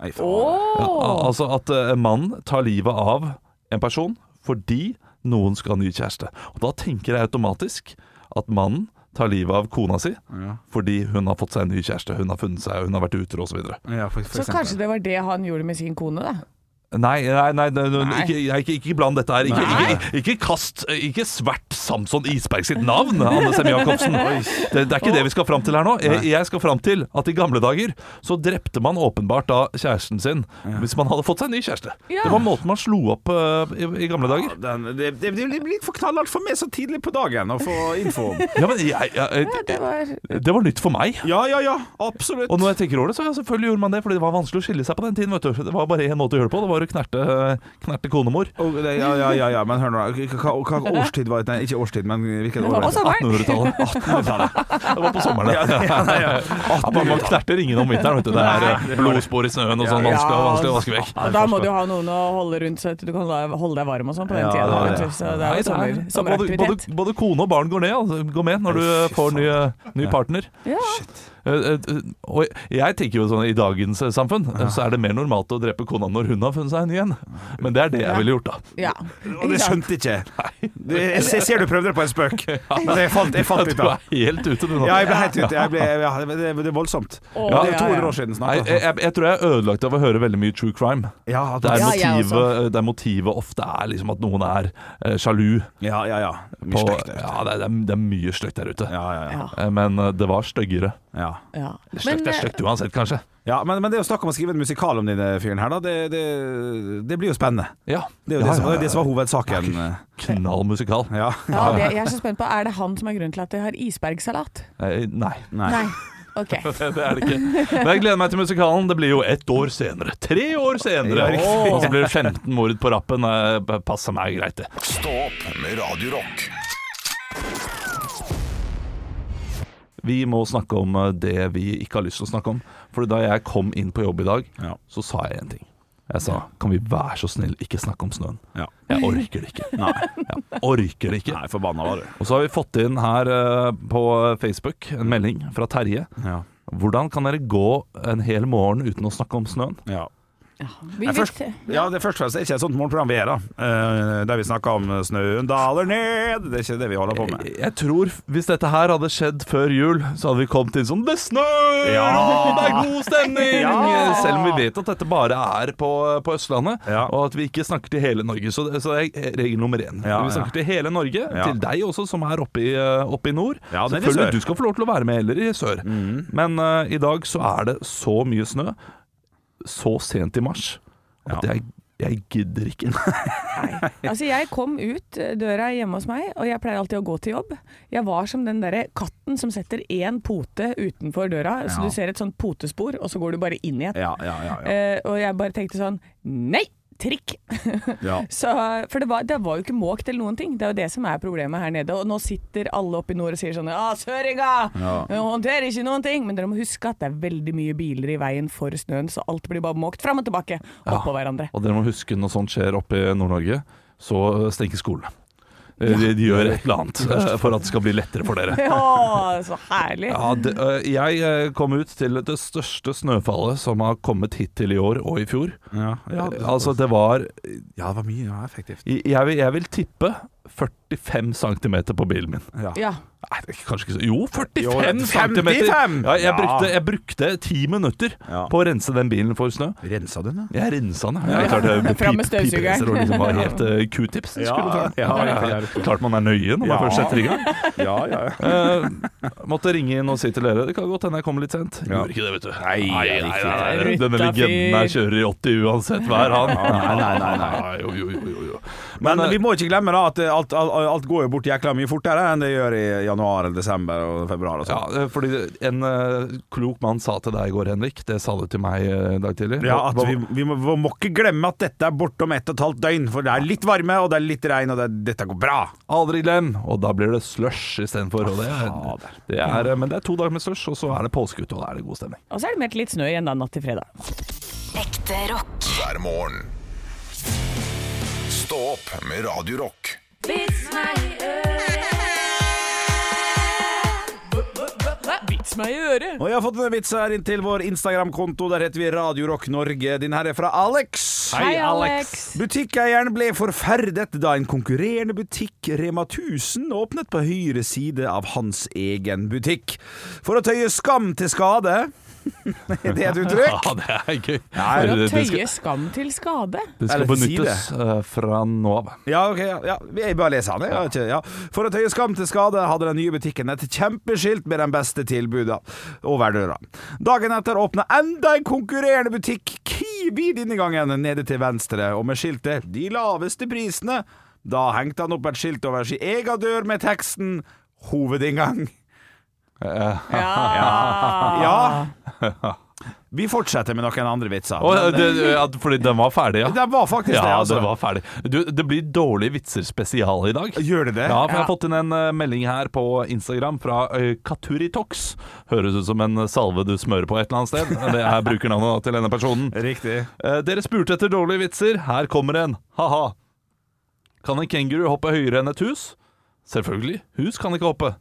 D: Nei, faen.
B: Ja, al- altså at eh, mannen tar livet av en person fordi noen skal ha ny kjæreste. Og da tenker jeg automatisk at mannen tar livet av kona si
D: Ja.
B: fordi hun har fått seg en ny kjæreste, hun har funnet seg, hun har vært utro osv.
D: Ja, for, for
C: Så kanskje det var det han gjorde med sin kone, da.
B: Nei, nei, nei, nei, nei, Ikke, jeg- ikke, ikke bland dette her. Ikke,
D: Nei.
B: ikke, ikke kast Ikke svert Samson Isberg sitt navn, Anne Sem Jacobsen. Det, det er ikke det vi skal fram til her nå. Jeg, jeg skal fram til at i gamle dager så drepte man åpenbart da kjæresten sin hvis man hadde fått seg en ny kjæreste. Det var måten man slo opp eh, i, i gamle dager.
D: Den, det, det, det blir litt for knallhardt for meg så tidlig på dagen å få info om.
B: Ja, men jeg, jeg,
C: Det var
B: det var nytt for meg.
D: Ja, ja, ja. Absolutt.
B: Og når jeg tenker over det, så ja, selvfølgelig gjorde man det, fordi det var vanskelig å skille seg på den tiden. Vet du. Det var bare én måte å gjøre det på, det var å knerte, knerte konemor.
D: Og det, ja, ja, ja, ja, men hør nå. Hva, hva årstid var det? Nei, ikke årstid, men hvilket år? var det?
C: Også var
B: 1800-tallet. 1800-tallet. Det var på sommeren, [laughs] det. Ja, men man knerter ingen om vinteren, vet du. Det er eh, blodspor i snøen og sånn. Vanskelig, å- vanskelig å vaske vekk.
C: Og da må du ha noen å holde rundt, så at du kan la- holde deg varm og sånn på den
D: Ja,
C: tida.
D: det var
C: da, vet
D: det.
C: du. Så det
B: Nei,
C: er jo
B: det er-
C: sommer,
B: ja, både,
C: sommeraktivitet.
B: både, både kone og barn går ned, altså, går med når du eh,
D: fy
B: får ny, eh, ny
D: Ja.
B: partner.
C: Ja.
B: Eh, eh, Og jeg tenker jo sånn i dagens eh, samfunn eh, så er det mer normalt å drepe kona når hun har funnet seg en ny en. Men det er det jeg ville gjort, da.
C: Ja.
D: Og det skjønte ikke jeg. Jeg ser- ser du prøvde det på en spøk. Men jeg falt, jeg falt
B: [laughs] Du
D: litt av.
B: er helt ute, du nå.
D: Ja, jeg ble helt ute. Jeg ble, ja, det, det er voldsomt.
C: Å,
D: Det er
C: ja,
D: 200
C: ja.
D: år siden
B: Nei, eh, jeg,
D: snart. Altså.
B: jeg, jeg tror jeg er ødelagt av å høre veldig mye true crime.
D: Ja, at,
B: Der
C: Ja, jeg
B: motivet, der motivet ofte er liksom at noen er eh, sjalu.
D: ja, ja, ja. Mye
B: På,
D: stygt der ute.
B: ja, det, er, det er- det er mye stygt der ute.
D: Ja, ja, ja.
B: Eh, Men eh, det var styggere.
D: ja.
C: ja.
B: Stygt
C: eh,
B: er stygt uansett, kanskje.
D: ja men, men det å snakke om å skrive en musikal om denne fyren her, da, det, det, det blir jo spennende.
B: Ja.
D: Det er
B: Ja,
D: jo det, som,
B: ja,
D: det, er det som var hovedsaken.
B: Knall musikal.
D: Ja.
C: eh, ja, det, jeg er
B: [laughs]
C: så spent på Er det han som er grunnen til at de har isbergsalat?
B: Eh, Nei. [laughs]
D: Nei.
C: Nei. Ok.
B: Det er det ikke. Men jeg gleder meg til musikalen. Det blir jo ett år senere. Tre år senere!
D: Ja, riktig.
B: Og så blir det 15 mord på rappen. Eh, Passer meg greit, det.
A: Stå opp med Radio Rock.
B: Vi må snakke om eh, det vi ikke har lyst til å snakke om. For da jeg kom inn på jobb i dag,
D: Ja.
B: så sa jeg en ting. Jeg sa kan vi være så snill ikke snakke om snøen.
D: Ja.
B: Jeg orker det ikke.
D: Nei.
B: Jeg orker det ikke.
D: Nei, forbanna var du.
B: Og så har vi fått inn her eh, på Facebook en melding fra Terje.
D: Ja.
B: Hvordan kan dere gå en hel morgen uten å snakke om snøen?
D: Ja.
C: Vi
D: Nei, først,
C: vet,
D: ja, det første er ikke et sånt morgenprogram vi er, da. Eh, der vi snakker om snøen daler ned. Det er ikke det vi holder på med.
B: Eh, Jeg tror hvis dette her hadde skjedd før jul, så hadde vi kommet inn sånn Det snør!
D: Ja!
B: Det er god stemning!
D: Ja!
B: Selv om vi vet at dette bare er på, på Østlandet,
D: Ja.
B: og at vi ikke snakker til hele Norge. Så det, så det er regel nummer én.
D: Ja,
B: vi snakker til hele Norge,
D: Ja.
B: til deg også, som er oppe i, eh, oppe i nord.
D: Ja, det er i sør. Mhm.
B: Selvfølgelig, du skal få lov til å være med heller i sør. Men eh, i dag så er det så mye snø, så sent i mars, at
D: Ja.
B: jeg Jeg gidder ikke.
E: Altså, jeg kom ut døra hjemme hos meg, og jeg pleier alltid å gå til jobb. Jeg var som den derre katten som setter én pote utenfor døra, så
D: Ja.
E: du ser et sånt potespor, og så går du bare inn i et.
D: Ja, ja, ja. ja.
E: Eh, og jeg bare tenkte sånn Nei! Trikk! [laughs]
D: ja.
E: Så, for det var, det var jo ikke måkt eller noen ting. Det er jo det som er problemet her nede. Og nå sitter alle oppe i nord og sier sånn Å, søringa!
D: Ja.
E: Hun håndterer ikke noen ting! Men dere må huske at det er veldig mye biler i veien for snøen, så alt blir bare måkt fram og tilbake oppå hverandre. [laughs]
B: Og dere må huske når sånt skjer oppe i Nord-Norge, så stenger skolene. Eh, De, de gjør et eller annet eh, for at [laughs] det skal bli lettere for dere.
E: Ja, så herlig!
B: Ja, det, eh, jeg eh, kom ut til det største snøfallet som har kommet hittil i år og i fjor.
D: ja,
B: Eh,
D: ja, det,
B: Altså, det var
D: ja, det var mye ja, effektivt.
B: Jeg vil, jeg vil tippe 45 cm på bilen min.
D: Ja.
E: Ja.
B: Nei, det er kanskje ikke så Jo, 45
D: Jo, det er
B: cm!
D: 55!
B: Ja, jeg,
D: Ja.
B: brukte- jeg brukte ti minutter
D: Ja.
B: på å rense den bilen for snø.
D: Rensa du den, da?
B: Jeg rensa den. Jeg klarte pip,
E: Fram med støvsugeren.
B: pipreser og liksom
D: [laughs]
B: bare helt eh, q-tips.
D: Ja,
B: skulle ta den.
D: ja, ja, ja.
B: Klart man er nøye når man
D: Ja.
B: først setter i gang.
D: Ja, ja, [laughs] ja.
B: Eh, måtte ringe inn og si til dere Det kan godt hende jeg kommer litt sent.
D: Ja.
B: Gjorde ikke det, vet du.
D: Nei, det er
B: nei. Denne legenden her kjører i 80 uansett vær, han.
D: Nei, nei, nei, nei.
B: jo, jo, jo, jo, jo.
D: Men, eh,
B: Men,
D: vi må ikke glemme da at eh, alt, alt, alt går jo bort jækla mye fortere enn det gjør i januar eller desember og februar og
B: ja,
D: sånn.
B: eh, fordi en eh, klok mann sa til deg i går, Henrik. Det sa du til meg eh, i dag tidlig.
D: Ja, at
B: Hva-
D: vi, vi, må, vi må ikke glemme at dette er bortom ett og et halvt døgn, for det er litt varme og det er litt regn, og det, dette går bra.
B: Aldri glem! Og da blir det slush istedenfor. og det er- det er, eh, Men det er to dager med slush, og så er det påskeute, og da er det god stemning.
E: Og så er det meldt litt snø igjen da natt til fredag.
G: Ekte rock.
A: hver morgen. Stå opp med Radio Rock.
E: Vits meg i øret!
D: Og jeg har fått en vits her inn til vår Instagram-konto. Der heter vi Radio Rock Norge. Din her er fra Alex.
E: Hei, Alex.
D: Butikkeieren ble forferdet da en konkurrerende butikk, Rema 1000, åpnet på høyre side av hans egen butikk. For å tøye skam til skade [laughs] Er det et uttrykk?
B: det er gøy.
D: Nei,
E: For å
B: det, det skal,
E: tøye skam til skade.
B: det skal
D: Eller si
B: benyttes eh, fra nå av.
D: Ja, ok, ja, ja. jeg bare leser han jeg. Jeg vet ikke, ja. For å tøye skam til skade hadde den nye butikken et kjempeskilt med den beste tilbudet over døra. Dagen etter åpna enda en konkurrerende butikk, Kiwi denne gangen, nede til venstre, og med skiltet 'De laveste prisene'. Da hengte han opp et skilt over sin egen dør med teksten 'Hovedinngang'.
B: Eh, Ah.
D: Ja. [laughs] Vi fortsetter med noen andre vitser.
B: Å, ja,
D: men-
B: det, eh, ja, fordi den var ferdig, ja.
D: Den var faktisk det,
B: Ja,
D: altså.
B: den var ferdig. Du, det blir dårlige vitser spesial i dag.
D: Gjør det det?
B: Ja, for jeg har fått inn en eh, melding her på Instagram fra eh, Katuritox. Høres ut som en eh, salve du smører på et eller annet sted. Det er brukernavnet da til denne personen.
D: Riktig.
B: Eh, Dere spurte etter dårlige vitser. Her kommer en. Ha-ha. Kan en kenguru hoppe høyere enn et hus? Selvfølgelig. Hus kan ikke hoppe.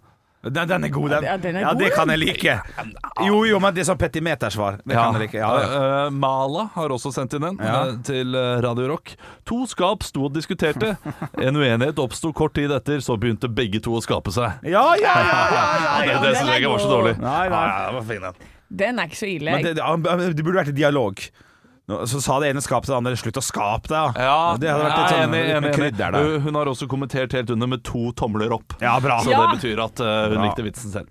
D: Den, den er god, den.
E: Ja, den er
D: ja,
E: god,
D: det
E: den.
D: kan jeg like. Jo, jo, men det er sånn petimetersvar. Det kan jeg like. Ja, ja.
B: Eh, Mala har også sendt inn en
D: Ja.
B: eh, til eh, Radio Rock. To skap sto og
D: [laughs]
B: diskuterte. En uenighet oppsto kort tid etter, så begynte begge to å skape seg.
D: Ja, ja, ja, ja, ja, [laughs]
B: det
D: ja.
B: det synes jeg ikke var så dårlig.
D: Nei, nei, det var fin, den.
E: Den er ikke så ille.
D: Men det, det, det burde vært i dialog. Nå- Så sa det ene skapet til det andre 'slutt å skape deg'.
B: Ja,
D: det hadde vært
B: jeg er
D: litt sånn
B: enig, enig, enig.
D: krydder der.
B: Hun- Hun har også kommentert helt under med to tomler opp.
D: Ja, bra.
B: Så
E: Ja.
B: det betyr at eh, hun
D: Bra.
B: likte vitsen selv.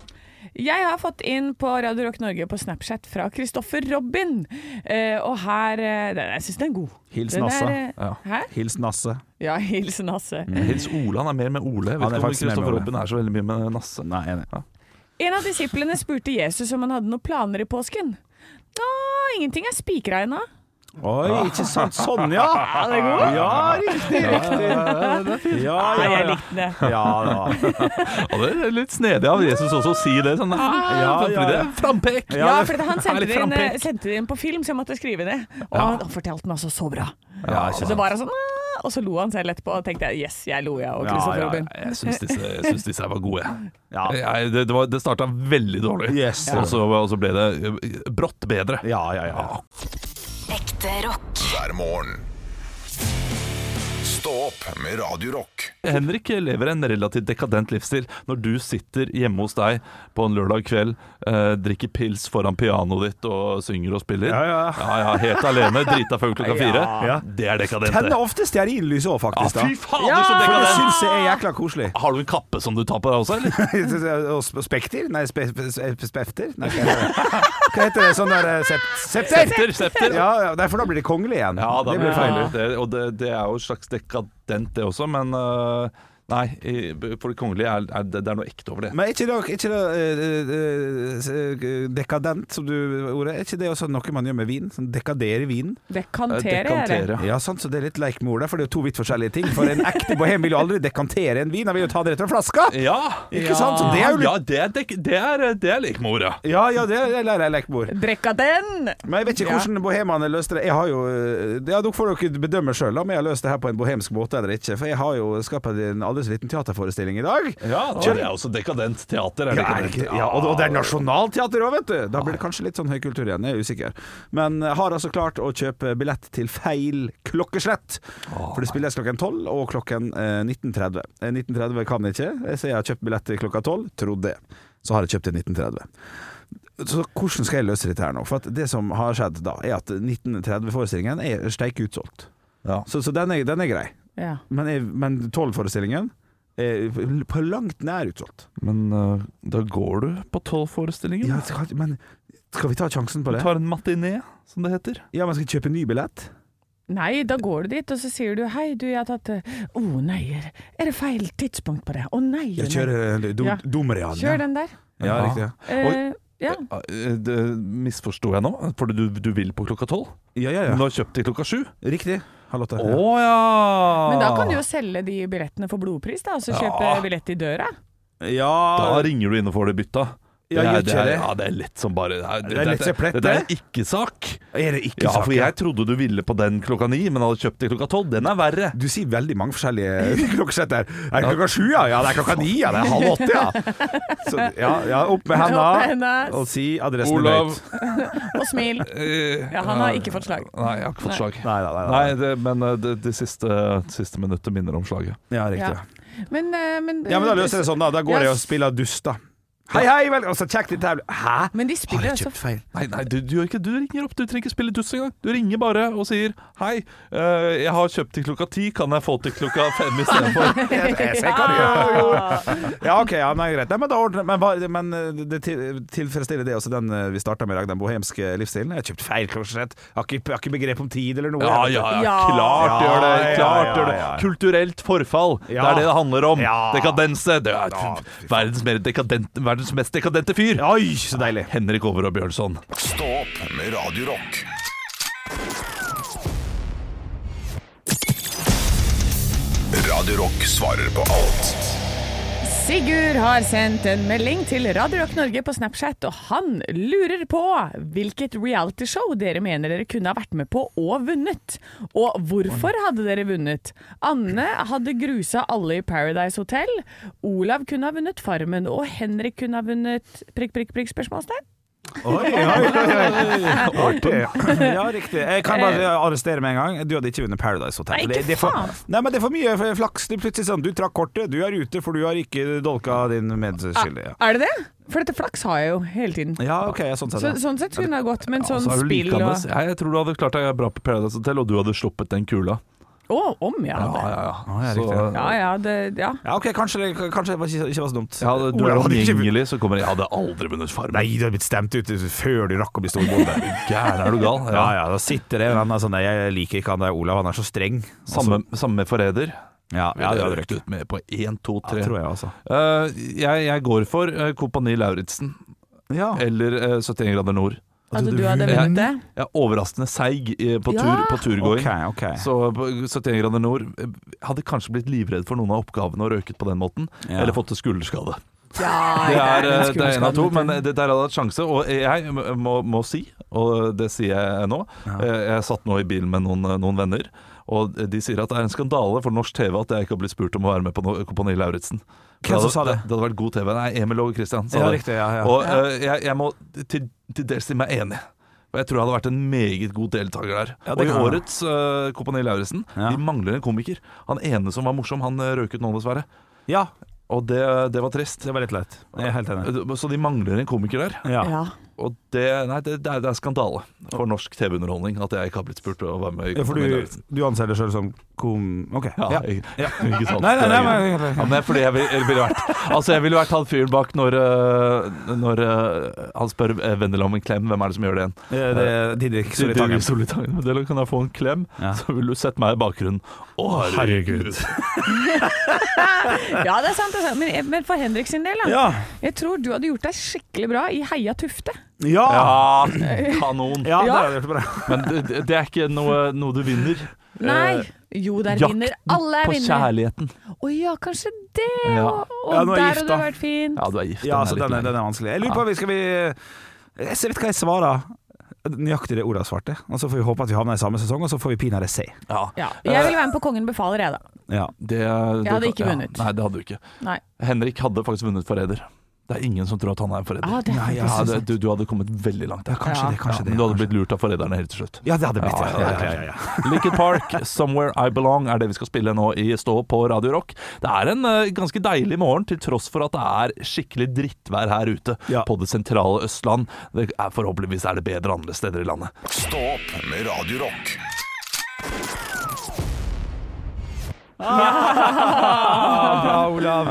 E: Jeg har fått inn på Radio Rock Norge på Snapchat fra Kristoffer Robin. Eh, og her eh, den, Jeg syns den er god.
D: Hils
E: Den er,
D: Nasse. Mm.
E: eh,
B: Ja.
E: Hæ?
D: Hils Nasse.
E: Ja, hilsen Nasse.
B: Hils Ole, han er mer med Ole. Jeg vet
D: Han er
B: ikke om
D: faktisk mer med
B: Kristoffer
D: Ole.
B: Robin er så veldig mye med Nasse.
D: Nei, enig.
E: En av disiplene spurte Jesus om han hadde noen planer i påsken. Nå, ingenting er spikra ennå.
D: Oi, ikke sant. Sånn, [laughs] ja. Ja, riktig, riktig. Ja,
E: Nei,
D: ja,
E: jeg
D: ja.
E: likte det.
D: Ja, da.
B: Ja, det er litt snedig av Jesus også å si det. Sånn, nei,
D: Ja,
B: fordi
D: ja,
B: det
D: [laughs] ja.
B: er frampek!
E: Ja, for han sendte
B: Litt
E: det, inn, eh,
B: frampek.
E: sendte det inn på film, så jeg måtte skrive det. Og han, han fortalte den altså så bra.
D: Ja, ikke
E: Og så
D: sant.
E: var han sånn «Ah», og så lo han selv etterpå, og tenkte jeg yes, jeg lo, jeg og
D: Ja,
E: Kristoffer
D: ja,
E: Robin.
B: Jeg syns disse, jeg syns disse her var gode. jeg.
D: Ja.
B: Jeg, det det, var- det starta veldig dårlig,
D: Yes.
B: og, så, og så ble det eh, brått bedre.
D: Ja, ja, ja.
G: Ekte rock.
A: hver morgen. Stå opp opp med Radio Rock.
B: Henrik lever en relativt dekadent livsstil når du sitter hjemme hos deg på en lørdag kveld, eh, drikker pils foran pianoet ditt og synger og spiller.
D: Ja, ja.
B: ja, helt alene, drita før klokka fire.
D: Ja.
B: Det er dekadent,
D: Tenner
B: det.
D: ofte stearinlys òg,
B: Ja,
D: faktisk. da
B: fy fader, så
D: For det
B: dekadent!
D: syns jeg er jækla
B: [laughs]
D: koselig.
B: Har du en kappe som du tar på deg også, eller?
D: Og sp- Spekter? Nei, spe, spe, spefter? Nei, hva heter det? Hva heter det? Sånn der eh, sep, Septer!
B: Septer, septer.
D: Ja, ja, nei, for da blir det kongelig igjen.
B: Ja, da
D: det blir feil.
B: Det, og det, det er jo et slags dekadent, det også, men eh, Nei, i- for det kongelige er, er det, det er noe ekte over det.
D: Men er ikke det, ikke det eh, eh, s- eh, dekadent, som du ordet? Er ikke det også noe man gjør med vin? Sånn dekadere vin?
B: Eh,
J: Dekantere, er det.
B: Dekantere.
D: Ja, sant, så det er litt leik med ord der, for det er jo to vidt forskjellige ting. For en ekte bohem vil jo aldri dekantere en vin, han vil jo ta det rett fra flaska!
B: Ja!
D: Ikke sant? Så det er jo litt
B: Ja, det er, dek, det er, det er lek med ordet.
D: Ja, ja, det er lærer jeg lekmor.
C: Drekka den!
D: Men jeg vet ikke hvordan bohemene løste det. Jeg har jo, eh, ja, Dere får dere bedømme sjøl om jeg har løst det her på en bohemsk måte eller ikke. For jeg har jo skapt en aldri så liten teaterforestilling i dag.
B: Ja, da er det også dekadent teater. Er
D: Ja,
B: det
D: er det
B: ikke
D: ikke,
B: det?
D: ja, og og det er nasjonalteater òg, vet du! Da blir det kanskje litt sånn høykultur igjen, jeg er usikker. Men jeg har altså klart å kjøpe billett til feil klokkeslett. For det spilles klokken 12 og klokken eh, 19.30. Eh, 19.30 kan jeg ikke, så jeg har kjøpt billett til klokka 12, trodde jeg. Så har jeg kjøpt til 19.30. Så hvordan skal jeg løse dette her nå? For at det som har skjedd da, er at 1930-forestillingen er steik utsolgt.
B: Ja.
D: Så, så den, er, den er grei.
C: Ja.
D: Men, jeg- men 12-forestillingen er på langt nær utsolgt.
B: Men eh, da går du på tolvforestillingen.
D: Ja, skal, men skal vi ta sjansen på
B: Du
D: det?
B: tar en matiné, som det heter.
D: Ja, men skal jeg kjøpe ny billett?
C: Nei, da går du dit, og så sier du 'hei, du, jeg har tatt det'. Å nei, er det feil tidspunkt på det? Å nei, nei.
B: eh,
D: dum,
C: Ja.
D: Dumrian.
C: Kjør den der.
D: Ja,
B: Ja.
D: riktig.
C: Eh, ja.
B: Eh, Det misforsto jeg nå, for du, du vil på klokka tolv.
D: Ja, ja,
B: Men
D: ja.
B: du har kjøpt til klokka sju.
D: Riktig. Charlotte.
B: Å
D: Ja.
B: ja!
C: Men da kan du jo
D: Ah.
C: selge de billettene for blodpris, da, og så kjøpe billett i døra.
B: Da
D: Ja,
B: ringer du inn og får det bytta. det,
D: Ja, gjør
B: er, det,
D: ikke
B: er,
D: det.
B: ja, det er lett som bare Det er,
D: Det er lett som plett,
B: det er ikke-sak.
D: er det ikke
B: Ja,
D: sak?
B: for jeg trodde du ville på den klokka ni, men hadde kjøpt til klokka tolv. Den er verre.
D: Du sier veldig mange
C: [laughs]
D: forskjellige [laughs] klokkeslett der. Er det klokka sju, ja? Ja, det er klokka ni, ja. Det er halv åtte,
C: [laughs]
D: ja. Så, ja, ja opp med
C: Opp med
D: henda
C: henda.
D: og si adressen
B: Olav
D: høyt.
C: Og
D: [laughs]
C: smil.
B: Ja,
C: Ja, han har ikke fått slag.
B: Eh, Nei, jeg har ikke fått slag.
D: Nei, nei, nei.
B: Nei,
D: nei.
B: det, men eh, det, det siste, siste minuttet minner om slaget.
D: Ja, riktig.
C: Ja. Men, eh, men,
D: Ja, men da løser jeg det sånn, da. Da går jeg og spiller dust, da. Hei, hei, vel, og så kjekt litt her. Hæ?
C: Men de
D: Har
C: spiller
D: jeg
C: altså
D: kjøpt feil?
B: Nei, nei du, du, gjør ikke, du ringer opp, du trenger ikke spille dust engang. Du ringer bare og sier 'Hei, eh, jeg har kjøpt til klokka ti, kan jeg få til klokka fem
C: [laughs]
B: istedenfor?'
D: Jeg, jeg ser hva du gjør. jo. Ja, ok, ja, men greit. Nei, men, da ordner, men, hva- men eh, det til- tilfredsstiller det også den eh, vi starta med i dag, den bohemske livsstilen? Jeg har kjøpt feil klokkeslett. Jeg Har ikke, jeg har ikke begrep om tid eller noe.
B: Ja,
D: jeg vet
B: ja, ja,
C: Ja.
B: klart gjør det!
D: Ja,
B: klart
D: ja,
B: gjør det
D: ja, ja.
B: Kulturelt forfall, det
D: Ja.
B: er det det handler om.
D: Ja.
B: Dekadense. Det er
D: Ja,
B: verdens, mer dekadente- verdens mest dekadente fyr.
D: du. Oi, så deilig.
B: Henrik Over og Bjørnson.
A: Stå opp med Radio Rock. Radio Rock svarer på alt.
C: Sigurd har sendt en melding til Radio Rock Norge på Snapchat, og han lurer på hvilket realityshow dere mener dere kunne ha vært med på og vunnet. Og hvorfor hadde dere vunnet? Anne hadde grusa alle i Paradise Hotel. Olav kunne ha vunnet Farmen, og Henrik kunne ha vunnet prikk, prikk, prikk? spørsmålstegn.
D: Oi, oi, oi, oi. Artig. Ja, riktig. Jeg kan bare arrestere med en gang. Du hadde ikke vunnet Paradise Hotel.
C: Nei,
D: For det,
C: ikke
D: det er for,
C: faen.
D: nei, men det er for mye flaks. Det er plutselig sånn, du trakk kortet, du er ute, for du har ikke dolka din
E: Ah.
D: medskyldige.
C: Er det det? For dette flaks har jeg jo hele tiden.
D: Ja, ok, ja, sånn sett.
C: Så,
D: ja.
C: sånn sett kunne det ha gått, men sånn
B: så Altså, er du
C: spill og
B: likeandes. Jeg, jeg tror du hadde klart deg bra på Paradise Hotel, og du hadde sluppet den kula. Ah,
C: Å, om jeg hadde.
B: ja.
D: Ja, Altså, ja,
B: Så,
D: riktig.
C: Ja, ja, det, ja.
D: Ja, ok, kanskje det, kanskje det var ikke, ikke var så dumt.
B: ja, det- du er
D: Olav hadde [laughs] ikke vunnet.
B: omgjengelig, så kommer jeg Jeg hadde aldri vunnet Farmen.
D: Nei, du har blitt stemt ut før du rakk å bli storbonde.
B: Gæren er du gal?
D: [laughs] Ja, ja, da sitter det en annen sånn Jeg liker ikke han der Olav, han er så streng. Og så-
B: Samme, samme med Forræder.
D: Ja, ja, det hadde røkt.
B: ut med på én, to,
D: Ja,
B: tre.
D: tror jeg, altså.
B: Eh, jeg, jeg går for eh, Kompani Lauritzen
D: Ja.
B: eller eh, 71 grader nord.
C: At Ah. Altså,
D: Altså,
C: du hadde vunnet det?
B: Jeg er overraskende seig eh, på, tur, på turgåing.
D: Ok, ok.
B: Så på 71 grader nord eh, hadde kanskje blitt livredd for noen av oppgavene og røket på den måten.
D: Ja.
B: Eller fått en skulderskade.
C: Ja,
B: Det er, eh, det er en av to,
C: skulderskade.
B: men eh, det der hadde hatt sjanse. Og jeg m- må, må si, og det sier jeg nå eh, Jeg satt nå i bilen med noen, eh, noen venner, og de sier at det er en skandale for norsk TV at jeg ikke har blitt spurt om å være med på no- Kompani Lauritzen.
D: Hvem som sa det?
B: Det hadde vært god TV. Nei, Emil og Christian sa
D: Ja,
B: det.
D: riktig, ja, ja.
B: Og eh, jeg, jeg må til, til dels si meg enig. Og jeg tror jeg hadde vært en meget god deltaker der.
D: Ja, det
B: og i
D: kan jeg.
B: årets eh, Kompani Lauritzen,
D: Ja.
B: de mangler en komiker. Han ene som var morsom, han eh, røk ut nå, dessverre.
D: Ja,
B: Og det, det var trist.
D: det var litt leit. Jeg er helt enig.
B: Eh, Så de mangler en komiker der.
D: Ja.
C: Ja.
B: Og det, nei, det, det, er, det er skandale for norsk TV-underholdning at jeg ikke har blitt spurt å være med. i
D: Ja, for
B: Kompani
D: du,
B: Lauritzen.
D: du anser deg sjøl som kom... OK.
B: Ja,
D: Ja.
B: jeg- [laughs] Ikke sant?
D: Nei, nei,
B: Det er
D: nei,
B: greit.
D: men-
B: Ja, men det er fordi jeg ville, jeg ville vært Altså, jeg ville vært han fyren bak når, øh, når øh, han spør øh, Vendela om en klem, hvem er det som gjør det igjen?
D: Det det er Didrik
B: Solitagen. [laughs]
D: Solitangen.
B: Solitangen. Vendela, kan jeg få en klem?
D: Ja.
B: Så vil du sette meg i bakgrunnen. Å, herregud.
C: ja, det er sant. Det er sant. Men, eh, men for Henrik sin del, da.
D: Ja.
C: Jeg tror du hadde gjort deg skikkelig bra i Heia Tufte.
B: Eh,
D: Ja.
B: Ja, kanon.
D: Ah! ja, det har du gjort bra.
B: Men det, det- det er ikke noe, noe du vinner.
C: Nei.
B: Eh,
C: Jo, der
B: jakten
C: vinner. Alle er
B: På
C: vinnere.
B: kjærligheten.
C: Å ja, kanskje det.
B: Ja.
C: Og, og
D: Ja, nå er
C: der
D: jeg gift,
C: hadde
D: da.
C: det vært fint.
B: Ja, du er gift.
D: Ja,
B: er
D: så
B: litt
D: den er,
B: lei.
D: den er vanskelig. Jeg lurer på, vi skal vi Jeg vet ikke hva jeg svarer. Nøyaktig det ordet jeg svarte. Og så får vi håpe at vi havner i samme sesong, og så får vi pinadø se.
B: Ja.
C: Ja.
B: Eh,
C: Jeg vil være med på Kongen befaler, jeg, da.
D: Ja.
B: Det, det,
C: hadde ikke vunnet.
B: Ja, nei, det hadde du ikke.
C: Nei.
B: Henrik hadde faktisk vunnet forræder. Det er ingen som tror at han er en forræder.
C: Ja,
D: Ah,
C: det er
B: Nei,
C: faktisk
B: ja, det- du, du hadde kommet veldig langt.
D: Ja, kanskje det, kanskje det.
B: men du hadde blitt lurt av forræderne helt til slutt.
D: Ja, det hadde blitt
B: Ja,
D: det.
B: ja,
D: Ja,
B: ja,
D: ja, ja, ja.
B: Linkin Park, 'Somewhere I Belong' er det vi skal spille nå i Stå på Radio Rock. Det er en eh, ganske deilig morgen, til tross for at det er skikkelig drittvær her ute
D: Ja.
B: på det sentrale Østland. Det er, forhåpentligvis er det bedre andre steder i landet.
A: Stå opp med Radio Rock.
D: Bra, Olav.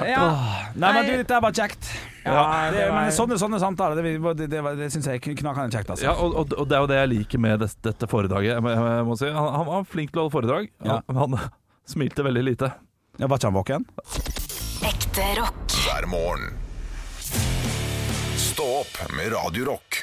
C: Ja.
D: Nei, men du, dette er bare kjekt. det, men sånne, sånne samtaler, det, det, det, det syns jeg er knakende kjekt, altså.
B: Ja, og, og, og det er jo det jeg liker med dette, dette foredraget. Jeg, må- jeg må si. han, han var flink til å holde foredrag,
D: Ja.
B: men han smilte veldig lite.
D: Ja, var ikke han våken?
G: Ekte rock.
A: Hver morgen. Stå opp med Radio Rock.